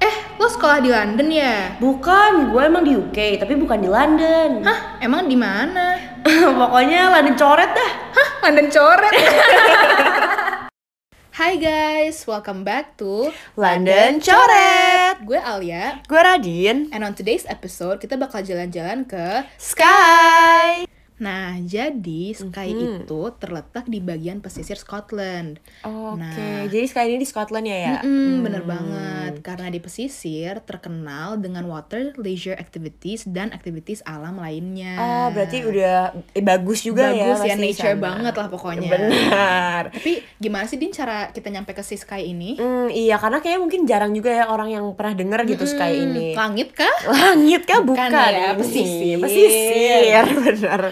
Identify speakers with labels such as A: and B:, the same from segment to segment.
A: Eh, sekolah di London ya?
B: Bukan, gue emang di UK, tapi bukan di London.
A: Hah, emang di mana?
B: Pokoknya London coret dah.
A: Hah, London coret. Hai guys, welcome back to
B: London coret.
A: Gue Alia.
B: Gue Radin.
A: And on today's episode kita bakal jalan-jalan ke
B: Sky.
A: Nah, jadi Skye
B: Mhm.
A: itu terletak di bagian pesisir Scotland.
B: Oke,
A: Nah.
B: jadi Sky ini di Scotland ya ya?
A: Mm-mm, bener
B: Hmm.
A: banget. Karena di pesisir terkenal dengan water leisure activities dan aktivitas alam lainnya.
B: Oh, berarti udah eh, bagus juga ya.
A: bagus ya,
B: pasti di
A: nature
B: sana.
A: banget lah pokoknya.
B: Benar.
A: Tapi gimana sih Din cara kita nyampe ke si Sky ini?
B: Hmm, iya, karena kayaknya mungkin jarang juga ya orang yang pernah dengar gitu Sky
A: Mm-mm,
B: ini.
A: Hmm, Langit kah?
B: Langit kah bukan,
A: Bukan ya,
B: ini.
A: pesisir.
B: pesisir benar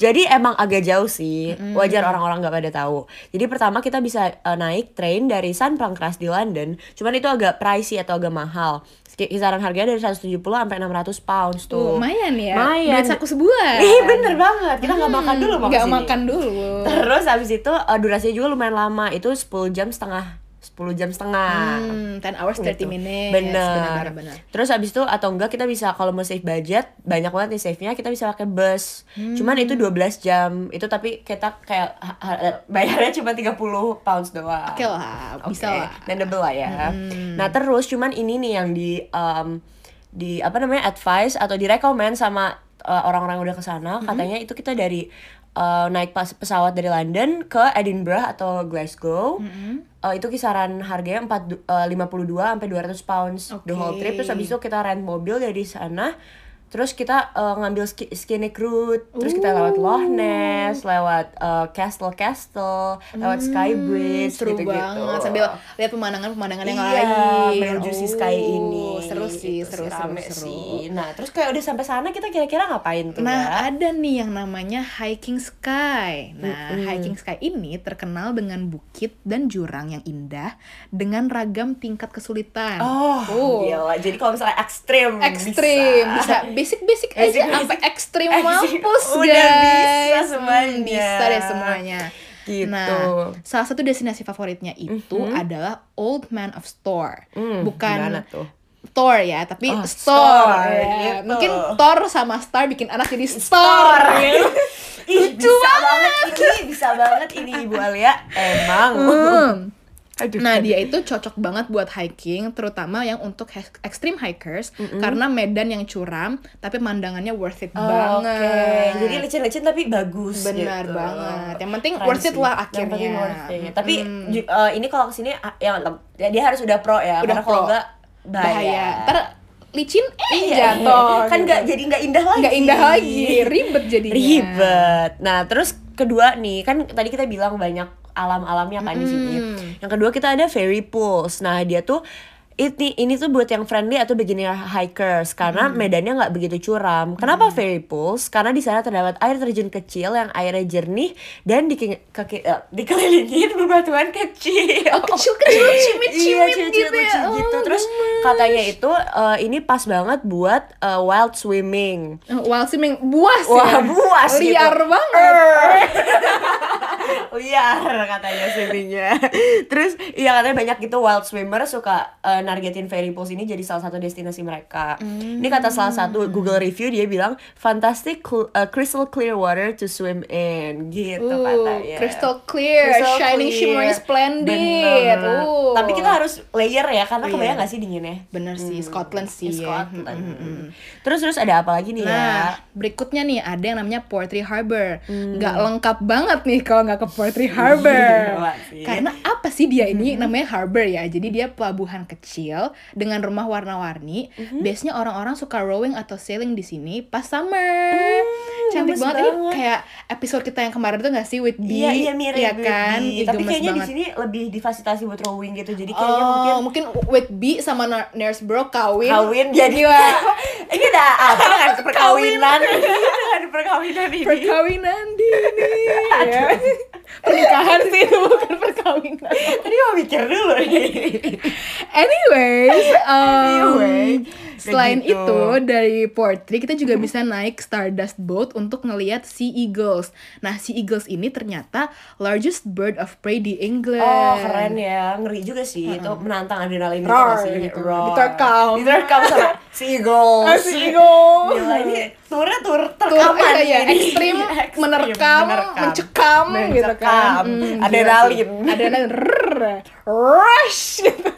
B: jadi emang agak jauh sih
A: Mm-mm.
B: wajar orang-orang nggak pada tahu jadi pertama kita bisa eh, naik train dari San Pancras di London cuman itu agak pricey atau agak mahal Ki- kisaran harganya dari 170 sampai 600 pounds tuh
A: Lumayan ya.
B: Lumayan.
A: Duit saku sebulan.
B: Ih bener banget kita nggak
A: Hmm,
B: makan dulu mau
A: nggak
B: kesini.
A: makan dulu.
B: terus habis itu eh, durasinya juga lumayan lama itu 10 jam setengah 10 jam setengah
A: Hmm, 10 hours 30
B: gitu.
A: minutes.
B: Bener.
A: benar, benar.
B: Terus abis itu atau enggak kita bisa kalau mau save budget banyak banget nih save-nya kita bisa pakai bus.
A: Hmm.
B: Cuman itu 12 jam. Itu tapi kita kayak ha- ha- bayarnya cuma 30 pounds doang.
A: Oke lah, bisa
B: Oke,
A: lah. Hmm.
B: manageable lah ya. Nah, terus cuman ini nih yang di em, di apa namanya advice atau direkomend sama eh, orang-orang yang udah ke sana
A: Hmm.
B: katanya itu kita dari eh, naik pas pesawat dari London ke Edinburgh atau Glasgow.
A: Hmm.
B: Eh, itu kisaran harganya 4 du- eh, 52 sampai 200 pounds the whole
A: Oke.
B: trip terus habis itu kita rent mobil dari sana terus kita eh, ngambil ski scenic route terus kita lewat Loch Ness lewat eh, Castle Castle lewat Sky Bridge
A: Hmm, seru
B: gitu-gitu
A: banget sambil lihat pemandangan-pemandangan yang
B: iya,
A: lain.
B: menuju si Sky
A: Oh,
B: ini
A: Seru sih,
B: Gitu
A: seru seru,
B: rame
A: seru.
B: sih. nah terus kayak udah sampai sana kita kira-kira ngapain tuh ya?
A: Nah, ada nih yang namanya hiking sky. Nah,
B: Mm-mm.
A: hiking sky ini terkenal dengan bukit dan jurang yang indah dengan ragam tingkat kesulitan.
B: oh,
A: Oh.
B: gila jadi kalau misalnya ekstrim
A: ekstrim bisa basic basic
B: Basic-basic.
A: aja sampai ekstrim
B: Ekstrim.
A: mampus
B: Udah
A: guys
B: bisa
A: Hmm,
B: semuanya.
A: bisa deh semuanya
B: gitu
A: nah salah satu destinasi favoritnya itu
B: Mhm.
A: adalah Old Man of Store
B: Hmm,
A: bukan
B: gimana tuh?
A: Thor ya, tapi
B: Oh,
A: store.
B: store,
A: ya.
B: gitu.
A: Mungkin Thor sama Star bikin anak jadi
B: Thor.
A: store.
B: Ih, bisa banget ini, bisa banget ini Ibu Alia. Emang.
A: Hmm.
B: Aduh.
A: Nah, dia itu cocok banget buat hiking, terutama yang untuk he- extreme hikers karena medan yang curam tapi pemandangannya worth it
B: Oh,
A: banget.
B: Oke. Jadi licin-licin tapi bagus
A: Benar
B: gitu.
A: banget. Yang penting
B: Keren
A: worth it
B: sih.
A: lah
B: Yang penting
A: akhirnya.
B: worth it. Tapi
A: Mm.
B: ju- eh, ini kalau kesini ah, yang ya, dia harus udah pro ya.
A: Udah
B: karena
A: pro.
B: kalau enggak bahaya.
A: bahaya. Ntar licin eh
B: Iya.
A: jatuh.
B: Kan
A: gitu.
B: enggak jadi enggak indah lagi.
A: Nggak indah lagi, ribet jadinya.
B: Ribet. Nah, terus kedua nih, kan tadi kita bilang banyak alam-alamnya kan di sini.
A: Mm.
B: Yang kedua kita ada ferry pools. Nah, dia tuh ini ini tuh buat yang friendly atau beginner hikers karena medannya nggak begitu curam. Kenapa ferry pools? Karena di sana terdapat air terjun kecil yang airnya jernih dan dike- keke- eh, dikelilingi bebatuan kecil.
A: Oh, kecil-kecil cimit-cimit
B: Iya,
A: gitu ya.
B: lucu gitu.
A: Oh,
B: Terus katanya itu eh, ini pas banget buat eh, wild swimming.
A: Wild Eh, swimming buas ya.
B: Wah, buas gitu.
A: Liar banget.
B: liar katanya swimmingnya terus iya katanya banyak gitu wild swimmer suka eh, nargetin ferry pools ini jadi salah satu destinasi mereka ini kata salah
A: Hmm.
B: satu Google review dia bilang fantastic cl- eh, crystal clear water to swim in gitu
A: Ooh,
B: katanya
A: crystal clear,
B: Crystal
A: shining,
B: clear.
A: shimmering, splendid.
B: Bener.
A: Ooh.
B: tapi kita harus layer ya karena
A: Iya.
B: kebayang gak sih dinginnya
A: bener sih Scotland sih. ya.
B: Scotland.
A: Mm, mm, mm.
B: Terus terus ada apa lagi nih ya?
A: Nah, berikutnya nih ada yang namanya Portree Harbor.
B: Hmm.
A: Nggak lengkap banget nih kalau nggak ke Portree Harbor.
B: Iya, Gila sih. Hmm.
A: Karena apa sih dia ini namanya harbor ya? Jadi dia pelabuhan kecil dengan rumah warna-warni.
B: Hmm.
A: Biasanya orang-orang suka rowing atau sailing di sini pas summer. Cantik
B: gemes
A: banget. ini
B: Hmm, banget.
A: kayak episode kita yang kemarin tuh nggak sih with Bee?
B: Iya iya mirip
A: Iya
B: mirip
A: kan?
B: di-
A: Ih,
B: Tapi
A: gemes
B: kayaknya di
A: banget.
B: sini lebih difasilitasi buat rowing gitu. Jadi kayaknya
A: Oh,
B: mungkin
A: mungkin, with B sama Nar- Nurse Bro kawin.
B: kawin jadi
A: Iya.
B: ini udah apa dengan perkawinan? dengan perkawinan ini.
A: Perkawinan dini. ya. Pernikahan sih itu bukan perkawinan. Iya.
B: Tadi mau mikir dulu nih.
A: Anyways, um,
B: Anyway,
A: Selain
B: gitu.
A: itu dari Portree kita juga bisa naik Stardust Boat untuk ngelihat sea eagles. Nah, sea eagles ini ternyata largest bird of prey di England.
B: Oh keren ya, ngeri juga sih itu menantang adrenalin gitu
A: Roar
B: pasti.
A: gitu. Diterkam.
B: diterkam sama sea eagles.
A: Ah, sea eagles.
B: Gila ini turnya tur
A: Tuh,
B: terkaman
A: iya, iya,
B: ini.
A: ekstrim,
B: Ekstrim,
A: menerkam, mencekam, gitu kan.
B: Mencekam.
A: Mm,
B: Adrenalin.
A: gila sih. Adrenalin. rrrr, Rush. gitu.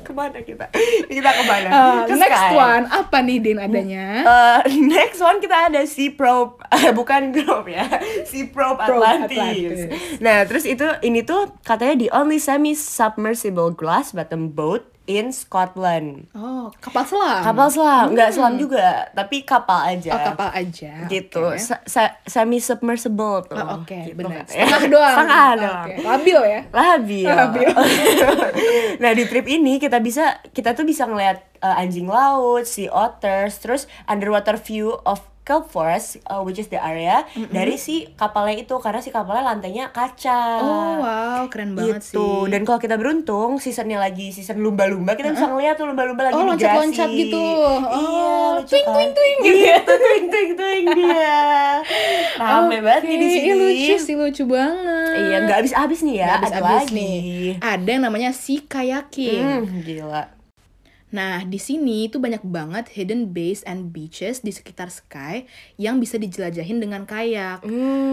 B: Kemana kita? Kita kemana?
A: Uh,
B: Ke
A: next
B: sky.
A: one apa nih Din adanya?
B: Eh, next one kita ada Sea Probe Eh, bukan Grove ya Sea Probe
A: Probe
B: Atlantis.
A: Atlantis.
B: Nah terus itu ini tuh katanya the only semi submersible glass bottom boat in Scotland.
A: Oh kapal selam.
B: Kapal selam, nggak selam juga, tapi kapal aja.
A: Hmm. Oh kapal aja.
B: Gitu,
A: Oke.
B: semi submersible tuh.
A: Oh, Oke
B: Gitu
A: benar.
B: katanya.
A: Setengah doang. Oh,
B: Setengah
A: Oke.
B: doang. Iya.
A: Labil ya.
B: Labil.
A: Labil.
B: nah di trip ini kita bisa kita tuh bisa ngeliat uh, anjing laut, sea otters, terus underwater view of kelp forest, uh, which is the area dari si kapalnya itu karena si kapalnya lantainya kaca.
A: Oh wow keren banget sih.
B: gitu. Dan kalau kita beruntung, seasonnya lagi season lumba-lumba, kita bisa ngeliat tuh lumba-lumba lagi
A: Oh,
B: migrasi.
A: loncat-loncat gitu.
B: Iya,
A: Oh,
B: lucu
A: twing,
B: kan?
A: twing, twing gitu.
B: Iya, tuh twing twing twing dia. Rame banget nih di
A: Oke,
B: sini.
A: ih, lucu sih lucu banget.
B: Iya, nggak habis-habis nih ya,
A: Nggak
B: ada
A: habis-habis
B: lagi.
A: nih. Ada yang namanya sea kayaking.
B: Hmm, gila.
A: Nah, di sini itu banyak banget hidden base and beaches di sekitar Sky yang bisa dijelajahin dengan kayak.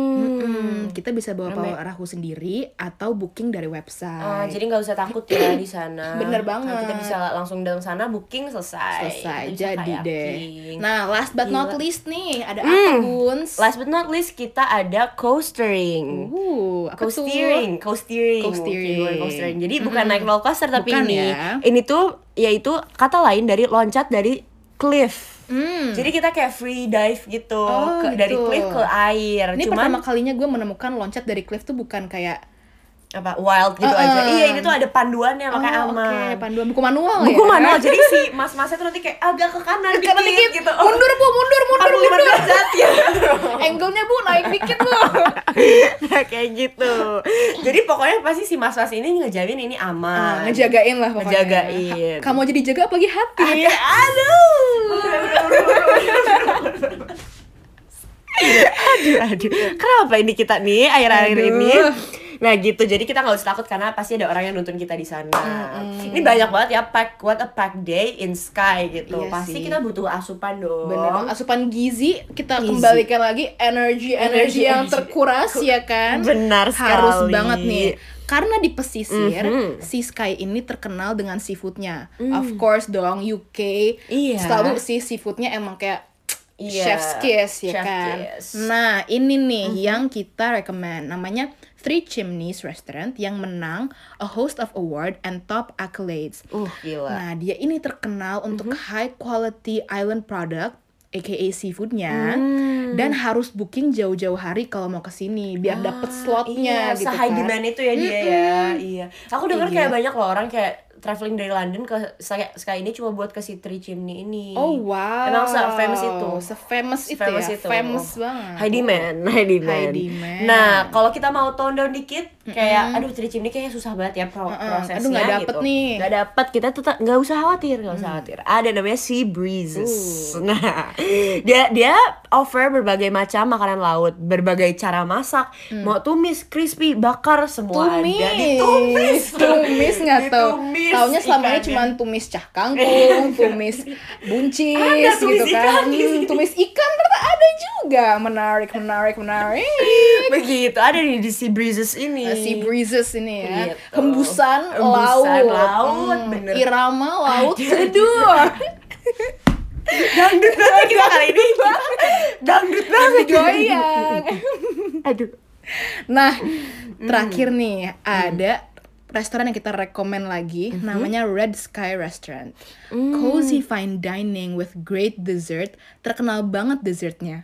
A: Mm, kita bisa bawa
B: Hmm. Rame.
A: bawa rahu sendiri atau booking dari
B: Ah,
A: website.
B: jadi nggak usah takut ya di sana.
A: Bener
B: Karena
A: banget.
B: Kita bisa langsung dalam sana booking selesai.
A: Selesai,
B: Kita bisa
A: jadi deh.
B: kayaking.
A: Nah, last but not
B: ya. Gila. Hmm.
A: least nih, ada apa, Guns?
B: Last but not least kita ada coastering.
A: Uh, apa tuh?
B: Co-steering, co-steering,
A: Co-steering. Hmm,
B: mungkin, co-steering. Jadi bukan naik roller coaster tapi
A: Bukan
B: ini,
A: ya.
B: ini tuh yaitu kata lain dari loncat dari cliff.
A: Hmm.
B: Jadi kita kayak free dive gitu,
A: Oh,
B: ke- dari
A: gitu.
B: cliff ke air.
A: Ini
B: Cuman
A: pertama kalinya gue menemukan loncat dari cliff tuh bukan kayak
B: apa wild gitu
A: Uh-uh.
B: aja. Iya ini tuh ada panduannya makanya
A: oh, oke,
B: aman.
A: panduan buku manual ya.
B: Buku manual jadi si mas-masnya tuh nanti kayak agak ke kanan
A: Ke kanan dikit, "Oh,
B: gitu.
A: Mundur Bu, mundur, mundur,
B: 45
A: mundur.
B: derajat ya.
A: Angle-nya Bu naik dikit Bu. Iya.
B: Nah, kayak gitu. Jadi pokoknya pasti si mas-mas ini ngejamin ini
A: Ah,
B: aman.
A: ngejagain lah pokoknya.
B: Nah, Ngejagain.
A: Ha- Kamu jadi jaga apalagi hati.
B: Iya, aduh. aduh, aduh. Kenapa ini kita nih akhir-akhir
A: Aduh.
B: ini? Nah gitu, jadi kita nggak usah takut karena pasti ada orang yang nuntun kita di sana. Ini banyak banget ya pack what a pack day in sky gitu.
A: Iya
B: pasti
A: sih.
B: kita butuh asupan dong.
A: Bener banget. asupan gizi kita
B: Gizi.
A: kembalikan lagi energi energi
B: Energi,
A: yang
B: energi.
A: terkuras ya kan
B: Benar
A: harus
B: sekali.
A: banget nih karena di pesisir
B: Mhm.
A: si Sky ini terkenal dengan seafoodnya of course dong UK
B: Iya.
A: selalu si seafoodnya emang kayak
B: Iya,
A: chef's kiss ya
B: chef's
A: kan
B: kiss. Mhm.
A: nah ini nih yang kita recommend namanya Three Chimneys Restaurant yang menang a host of award and top accolades
B: Uh, gila.
A: Nah, dia ini terkenal untuk
B: Mhm.
A: high quality island product aka seafoodnya
B: Hmm.
A: dan harus booking jauh-jauh hari kalau mau ke sini biar dapet slotnya
B: iya,
A: gitu
B: se-high
A: kan.
B: demand itu ya dia ya iya aku dengar kayak banyak loh orang kayak traveling dari London ke Sky, Sky ini cuma buat ke si Three Chimney ini
A: Oh wow.
B: emang se-famous itu
A: Se-famous itu
B: Famous
A: ya.
B: itu.
A: Famous banget.
B: High demand, high demand.
A: High demand.
B: Nah, kalau kita mau tone down dikit, kayak aduh Three Chimney kayaknya susah banget ya pro- prosesnya
A: Aduh, nggak dapet
B: gitu.
A: nih. Mm.
B: Nggak dapet, kita tetap nggak usah khawatir, nggak usah khawatir. Ada namanya Sea Breezes.
A: Uh.
B: Nah, dia dia offer berbagai macam makanan laut, berbagai cara masak,
A: Mm.
B: mau tumis, crispy, bakar semua ada. Ditumis.
A: Tumis, tumis nggak tau.
B: Ditumis
A: Taunya selama ini
B: ikannya.
A: cuma tumis cah kangkung, tumis buncis
B: Ada tumis
A: gitu kan.
B: ikan di
A: Hmm,
B: sini.
A: tumis ikan ternyata ada juga. Menarik, menarik, menarik.
B: Begitu, ada di, di Sea Breezes ini.
A: Uh, sea breezes ini ya
B: Iya. Gitu.
A: hembusan,
B: Hembusan
A: laut, Hmm.
B: laut, bener.
A: irama laut seduh
B: Dangdut banget kita kali ini. Dangdut banget.
A: goyang
B: Aduh.
A: nah
B: Hmm.
A: terakhir nih ada restoran yang kita rekomen lagi
B: Mhm.
A: namanya Red Sky Restaurant
B: Hmm.
A: cozy fine dining with great dessert terkenal banget dessertnya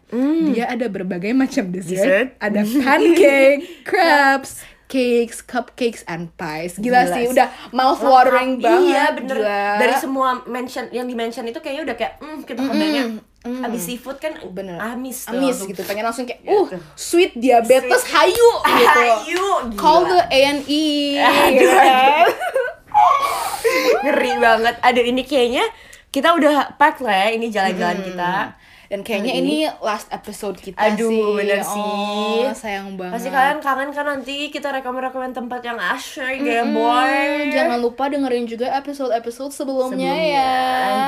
A: dia ada berbagai macam
B: Hmm. Dessert?
A: dessert, ada pancake crabs cakes, cupcakes, and pies. Gila,
B: Gila
A: sih,
B: sih.
A: udah mouth watering
B: Lengkap.
A: banget.
B: iya bener
A: gila.
B: dari semua mention yang di mention itu kayaknya udah kayak hmm kita kebayang abis seafood kan
A: bener
B: amis tuh
A: amis
B: langsung.
A: gitu pengen langsung kayak uh
B: Gitu.
A: sweet diabetes
B: Sweet. Ah,
A: hayu gitu
B: Hayu, gila.
A: call the E. A&E
B: Aduh, ngeri banget aduh ini kayaknya kita udah pack lah ya, ini jalan-jalan kita.
A: Dan kayaknya ini last episode kita
B: Aduh,
A: sih.
B: bener
A: Oh,
B: sih.
A: sayang banget.
B: Pasti kalian kangen kan nanti kita rekomend-rekomend tempat yang asyik ya,
A: Hmm,
B: boy.
A: jangan lupa dengerin juga episode-episode sebelumnya, ya.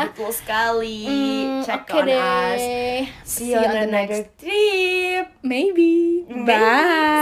B: Betul sekali.
A: Hmm,
B: Check
A: oke
B: on
A: deh.
B: us. See you on the next trip.
A: Maybe.
B: Maybe.
A: Bye.
B: ya.